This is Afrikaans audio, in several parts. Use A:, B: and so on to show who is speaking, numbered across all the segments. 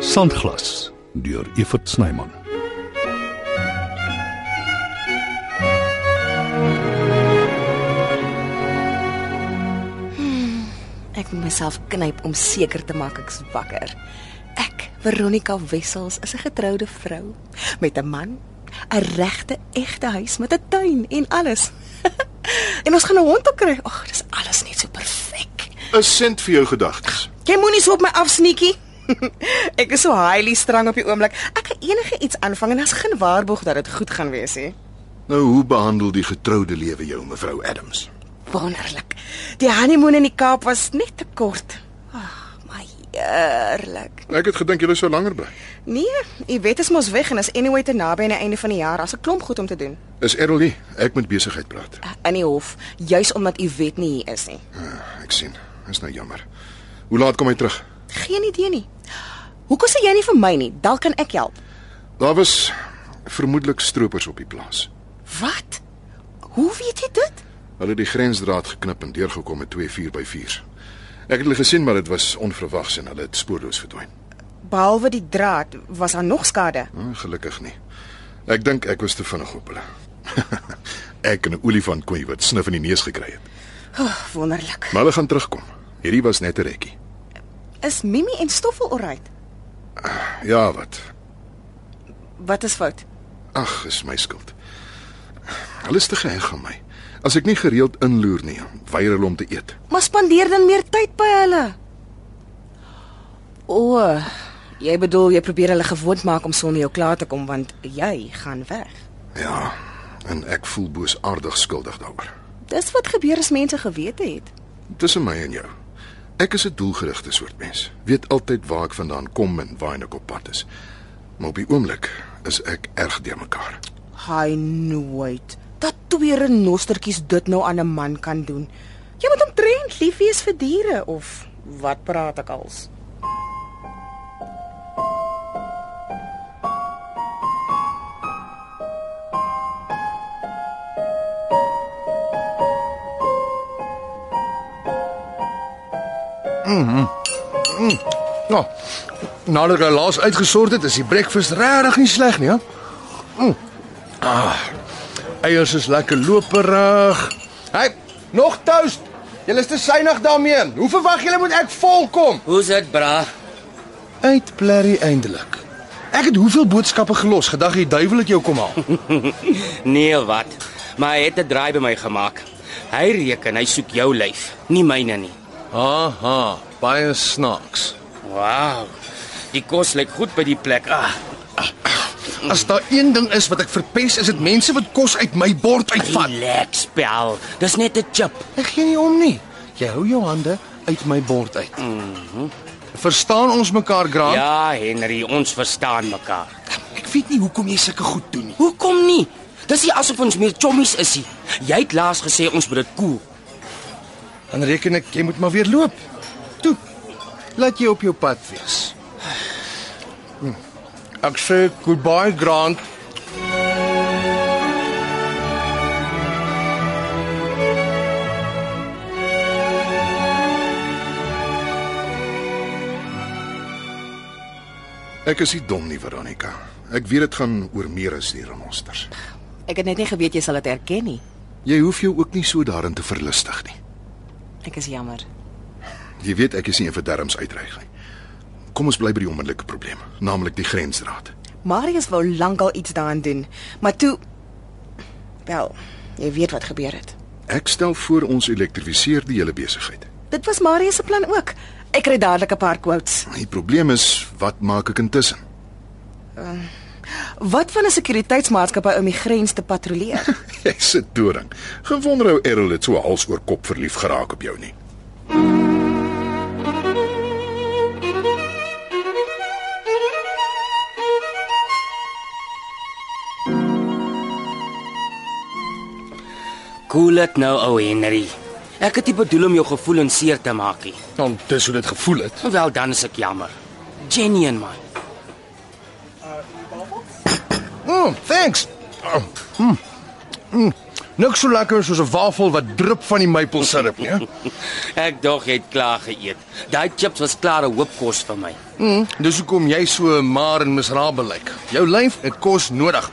A: Sandglas deur Evert Snyman.
B: Ek moet myself knyp om seker te maak ek's wakker. Ek, Veronica Wessels, is 'n getroude vrou met 'n man, 'n regte egte huis met 'n tuin en alles. en ons gaan 'n hond ook kry. Ag, dis alles net so perfek.
C: 'n sent vir jou gedagtes.
B: Jy moenie so op my afsneekie. ek is so highly strang op die oomblik. Ek kan enige iets aanvang en daar's geen waarborg dat dit goed gaan wees nie.
C: Nou hoe behandel die getroude lewe jou mevrou Adams?
B: Wonderlik. Die honeymoon in die Kaap was net te kort. Ag, maar heerlik.
C: Ek het gedink julle sou langer bly.
B: Nee, Iwet is mos weg en is anyway te naby aan die einde van die jaar. Daar's 'n klomp goed om te doen.
C: Is Errol nie? Ek moet besigheid praat.
B: In die hof, juis omdat Iwet nie hier is nie.
C: Ah, Ek sien. Is nou jammer. Hoe laat kom hy terug?
B: Geen idee nie. Hoekom sê jy nie vir my nie? Dalk kan ek help.
C: Daar was vermoedelik stroopers op die plaas.
B: Wat? Hoe weet jy dit?
C: Hulle het die grensdraad geknip en deurgekom met twee 4x4s. Ek het hulle gesien, maar dit was onverwags en hulle het spoorloos verdwyn.
B: Behalwe die draad, was daar nog skade.
C: Ah, Gelukkig nie. Ek dink ek was te vinnig op hulle. ek en 'n olifant koei wat snif in die neus gekry het.
B: Oh, wonderlik.
C: Maar hulle gaan terugkom. Hierdie was net 'n rekkie.
B: Is Mimi en Stoffel alright?
C: Ja, wat?
B: Wat is fout?
C: Ag, is my skuld. Hulle is te geheg aan my. As ek nie gereeld inloer nie, weier hulle om te eet.
B: Maar spandeer dan meer tyd by hulle. O, oh, jy bedoel jy probeer hulle gewoond maak om sonder jou klaar te kom want jy gaan weg.
C: Ja, en ek voel boosaardig skuldig daaroor.
B: Dis wat gebeur as mense geweet het.
C: Tussen my en jou. Ek is 'n doelgerigte soort mens. Weet altyd waar ek vandaan kom en waarheen ek op pad is. Maar op die oomblik is ek erg deurmekaar.
B: Hy nooit dat twee renostertjies dit nou aan 'n man kan doen. Jy moet omtrent lief wees vir diere of wat praat ek als?
D: Ja. Nou, Nadat ek laas uitgesort het, is die breakfast regtig nie sleg nie, hè? Mm. Ah. Eiers is lekker loperig. Hey, nog toast. Julle is te suinig daarmee. Hoe verwag julle moet ek volkom?
E: Hoe's dit, bra?
D: Uit blerry eindelik. Ek het hoeveel boodskappe gelos. Gedag die duiwel het jou kom haal.
E: Nee, wat? Maar hy het 'n draai by my gemaak. Hy reken hy soek jou lyf, nie myne nie.
D: Aha, baie snaaks.
E: Wow. Die kos lyk goed by die plek. Ah,
D: As daar een ding is wat ek verpes, is dit mense wat kos uit my bord uitvat.
E: relax, pel. Dis net 'n chip.
D: Ek gee nie om nie. Jy hou jou hande uit my bord uit. Mhm. Verstaan ons mekaar, Grant?
E: Ja, Henry, ons verstaan mekaar.
D: Ek weet nie hoekom jy sulke goed doen nie.
E: Hoekom nie? Dis nie asof ons meer chommies is nie. Jy het laas gesê ons moet dit koel.
D: Dan reken ek jy moet maar weer loop. Toe. Laat jy op jou pad wees. Hm. Ek sê goodbye, Grant.
C: Ek is nie dom nie, Veronica. Ek weet dit gaan oor meer as die renosters.
B: Ek het net nie geweet jy sal dit herken nie.
C: Jy hoef jou ook nie so daarin te verlustig nie.
B: Ek is jammer.
C: Jy weet ek is nie 'n verderms uitreig nie. Kom ons bly by die onmiddellike probleem, naamlik die grensdraad.
B: Marius wou lankal iets daaraan doen, maar toe wel, jy weet wat gebeur het.
C: Ek stel voor ons elektrifiseer die hele besigheid.
B: Dit was Marius se plan ook. Ek kry dadelik 'n paar quotes.
C: Die probleem is, wat maak ek intussen?
B: Wat van 'n sekuriteitsmaatskappy om die grens te patrolleer?
C: Jy's 'n doring. Gewonder ou Errol het so hals oor kop verlief geraak op jou nie.
E: Koel dit nou, ou Henry. Ek het nie bedoel om jou gevoelens seer te maak nie.
D: Dan dis hoe dit gevoel het.
E: Wel dan is ek jammer. Genuine man.
D: Mm, thanks. Oh, mm. Mm.
C: Ah, hmm. Niks so lekker soos 'n wafel wat drup van die nee? maple-sirup nie. hè?
E: Ek dog jy het klaar geëet. Daai chips was klare hoopkos vir my.
C: Mm, dis hoekom jy so maar en miserabel lyk. Jou lyf het kos nodig.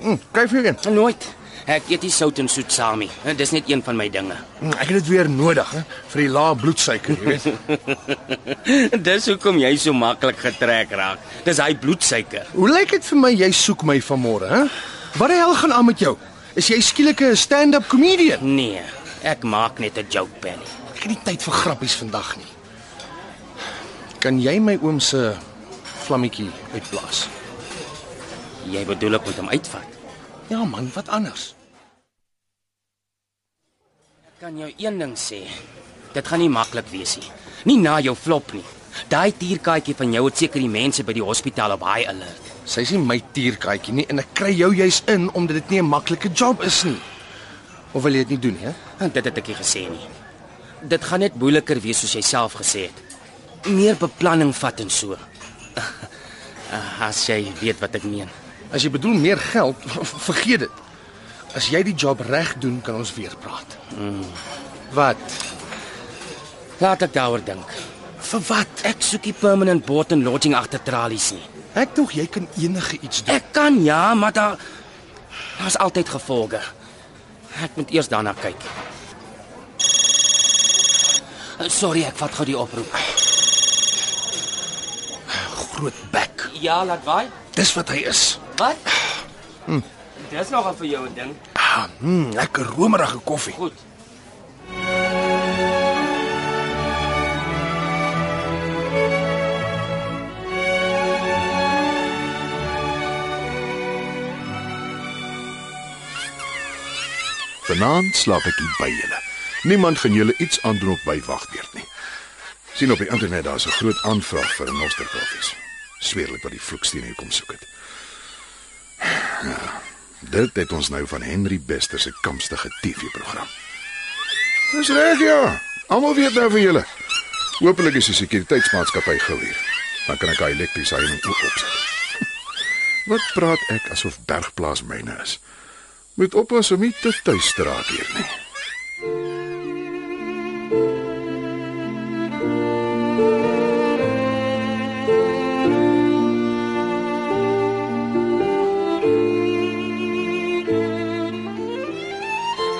C: Mm, kyk vir een.
E: Nooit. Ek eet nie sout en soet saam nie. En Dis net een van my dinge.
C: Mm, ek het dit weer nodig hè, vir die lae bloedsuiker, jy weet.
E: Dis hoekom jy so maklik getrek raak. Dis hy bloedsuiker.
C: Hoe lyk dit vir my jy soek my vanmôre, hè? Wat die hel gaan aan met jou? Is jy skielik 'n stand-up comedian?
E: Nee, ek maak net 'n joke, Penny.
C: Ek het nie tyd vir grappies vandag nie. Kan jy my oom se vlammetjie uitblaas?
E: Jy bedoel ek moet hom uitvat.
C: Ja man, wat anders?
E: Kan jou een ding sê. Dit gaan nie maklik wees nie. Nie na jou flop nie. Daai tierkaartjie van jou het seker die mense by die hospitaal op high alert.
C: Sy's nie my tierkaatjie nie en ek kry jou juis in omdat dit nie 'n maklike job is nie. Of wil jy dit nie doen nie, hè?
E: En Ah, dit het ek nie gesê nie. Dit gaan net moeiliker wees soos jy self gesê het. Meer beplanning vat en so. Ah, As jy weet wat ek meen.
C: As jy bedoel meer geld, vergeet dit. As jy die job reg doen, kan ons weer praat. Mm. Wat?
E: Laat ek daaroor dink.
C: Vir wat?
E: Ek soek nie permanent board en lodging agter tralies nie.
C: Ek dink jy kan enige iets doen.
E: Ek kan ja, maar daar daar's altyd gevolge. Ek moet eers daarna kyk. Sorry, ek vat gou die oproep.
C: groot bek.
E: Ja, laat vaai.
C: Dis wat hy is.
E: Wat? Hm. Dis nogal vir jou 'n ding.
C: Ah, mm, lekker romerige koffie.
E: Goed.
F: Vanaand slaap ek hier by julle. Niemand gaan julle iets aandoen op my wagbeurt nie. sien op die internet daar's 'n groot aanvraag vir 'n nosterkoffies. Sweerlik wat die vloeksteen hier kom soek het. Ja, dit het ons nou van Henry Bester se kamstige TV-program. Dis reg ja. Almal weet nou van julle. Hoopelik is die sekuriteitsmaatskappy gou hier. Dan kan ek daai elektriese heining ook opsit. Wat praat ek asof bergplaas myne is? Moet oppas om nie te tuis te raak hier nie.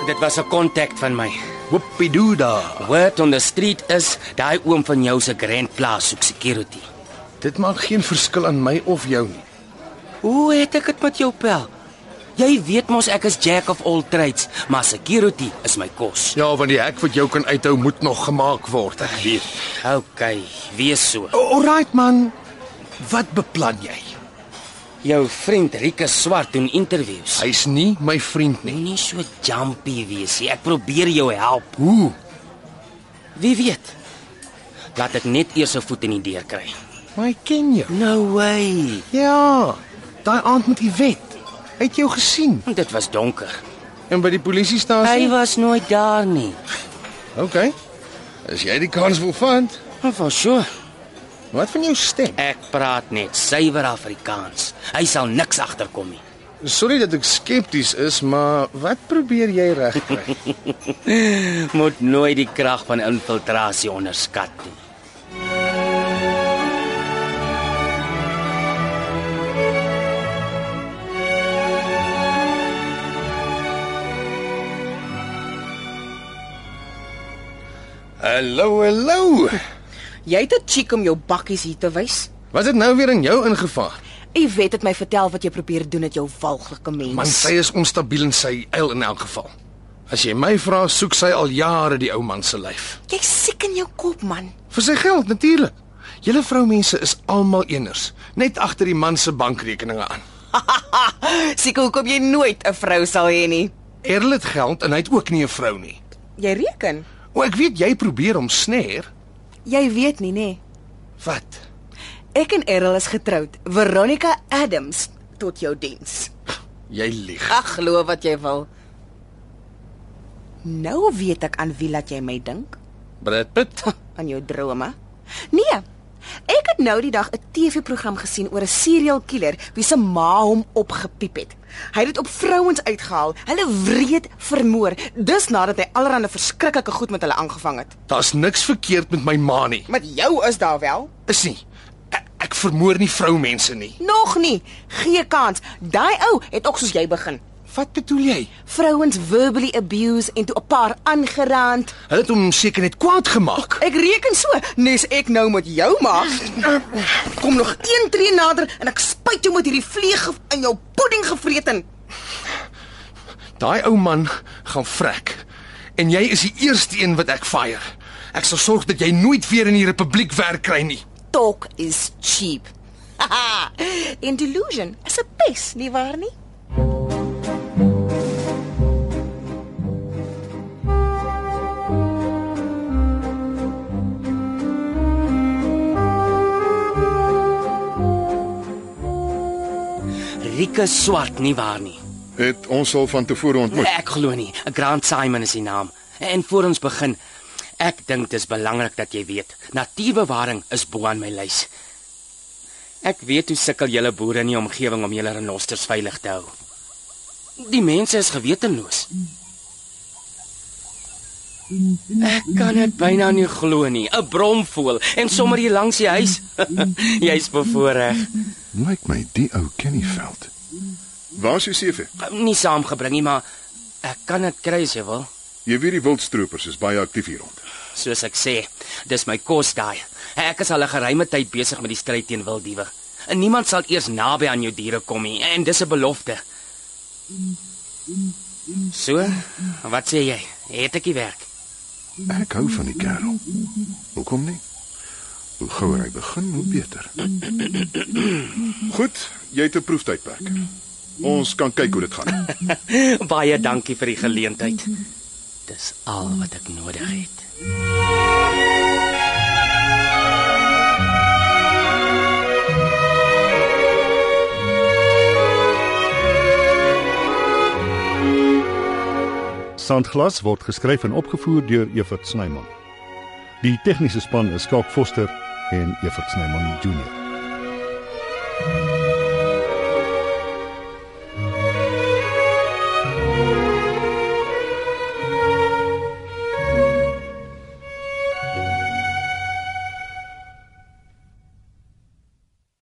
E: Dit was 'n kontak van my.
C: Whoopie doo da.
E: Word on the street is daai oom van jou se Grand Plaas soek security.
C: Dit maak geen verskil aan my of jou nie.
E: Hoe het ek dit met jou pel? Jy weet mos ek is jack of all trades, maar security is my kos.
C: Ja, want die hek wat jou kan uithou moet nog gemaak word. Ek weet.
E: Okay, wees so.
C: Alright man. Wat beplan jy?
E: Jou vriend Rikus Swart doen interviews.
C: Hy's nie my vriend nie.
E: Nie so jumpy wees nie. Ek probeer jou help.
C: Hoe?
E: Wie weet? Laat ek net eers 'n voet in die deur kry.
C: Maar ek ken jou.
E: No way.
C: Ja. Daai aand met Iwet. Hy het jou gesien
E: Dit was donker.
C: en by die
E: Hy
C: polisiestasie.
E: was nooit daar nie.
C: Okay. As jy die kans wil vind,
E: Maar van so,
C: wat van jou stem?
E: ek praat net suiwer Afrikaans. Hy sal niks agterkom nie.
C: Sorry dat ek skepties is, maar wat probeer jy regkry?
E: Moet nooit die krag van infiltrasie onderskat nie.
C: hallo, hallo.
B: Jy het 'n cheek om jou bakkies hier te wys.
C: Was dit nou weer in jou ingevaar?
B: Jy weet dit my vertel wat jy probeer doen met jou walglike mens.
C: Man, sy is onstabiel in sy eil in elk geval. As jy my vra, soek sy al jare die ou man se lyf.
B: Jy siek in jou kop man.
C: Vir sy geld natuurlik. Julle vroumense is almal eners, net agter die man se bankrekeninge aan.
B: Siek hoekom jy nooit 'n vrou sal hê nie.
C: Errol het geld en hy het ook nie 'n vrou nie.
B: Jy reken.
C: O, ek weet jy probeer hom sner.
B: Jy weet nie nê.
C: Wat?
B: Ek en Errol is getroud. Veronica Adams tot jou diens.
C: Jy lieg.
B: Ag, glo wat jy wil. Nou weet ek aan wie laat jy my dink?
C: Brad Pitt.
B: Aan jou drome. Nee, Ek het nou die dag 'n TV-program gesien oor 'n serial killer wie se ma hom opgepiep het. Hy het dit op vrouens uitgehaal, hulle wreed vermoor, dis nadat hy allerlei verskriklike goed met hulle aangevang het.
D: Daar's niks verkeerd met my ma nie.
B: Met jou is daar wel?
D: Is nie. Ek, ek vermoor nie vroumense nie.
B: Nog nie. Gee kans. Daai ou het ook soos jy begin.
D: Wat bedoel jy?
B: Vrouens verbally abuse en toe 'n paar aangerand.
D: Hulle het hom seker net kwaad gemaak.
B: Ek reken so, nes ek nou met jou maak. Kom nog een tree nader en ek spuit jou met hierdie vleeg in jou pudding gevreten.
D: Daai ou man gaan vrek. En jy is die eerste een wat ek fire. Ek sal sorg dat jy nooit weer in die republiek werk kry nie.
B: Talk is cheap. en delusion is 'n pes, nie waar nie?
E: Rike Swart nie waar nie.
C: Het ons al van tevore ontmoet.
E: Nee, Ek glo nie. Grant Simon is die naam. En voor ons begin, ek dink dis belangrik dat jy weet, natuurbewaring is bo aan my lys. Ek weet hoe sukkel julle boere in die omgewing om julle renosters veilig te hou. Die mense is gewetenloos. Ek kan dit byna nie glo nie. 'n Bromvoël en sommer hier langs die huis. Jy's bevoorreg.
C: Lyk my die ou ken die veld. Waar is jou CV?
E: Nie saamgebring nie, maar ek kan dit kry as jy wil.
C: Jy weet die wildstroopers is baie aktief hier rond.
E: Soos ek sê, dis my kos daai. Ek is al 'n geruime tyd besig met die stryd teen wilddiewe. En niemand sal eers naby aan jou diere kom nie, en dis 'n belofte. So, wat sê jy? Het ek die werk?
C: Ek hou van die kerel. Hoekom nie? Hoe gouer hy begin, hoe beter. Goed, jy het 'n proeftydperk. Ons kan kyk hoe dit gaan.
E: Baie dankie vir die geleentheid. Dis al wat ek nodig het.
A: Sandglas word geskryf en opgevoer deur Evert Snyman. Die tegniese span is Skalk Foster en Evert Snyman Junior.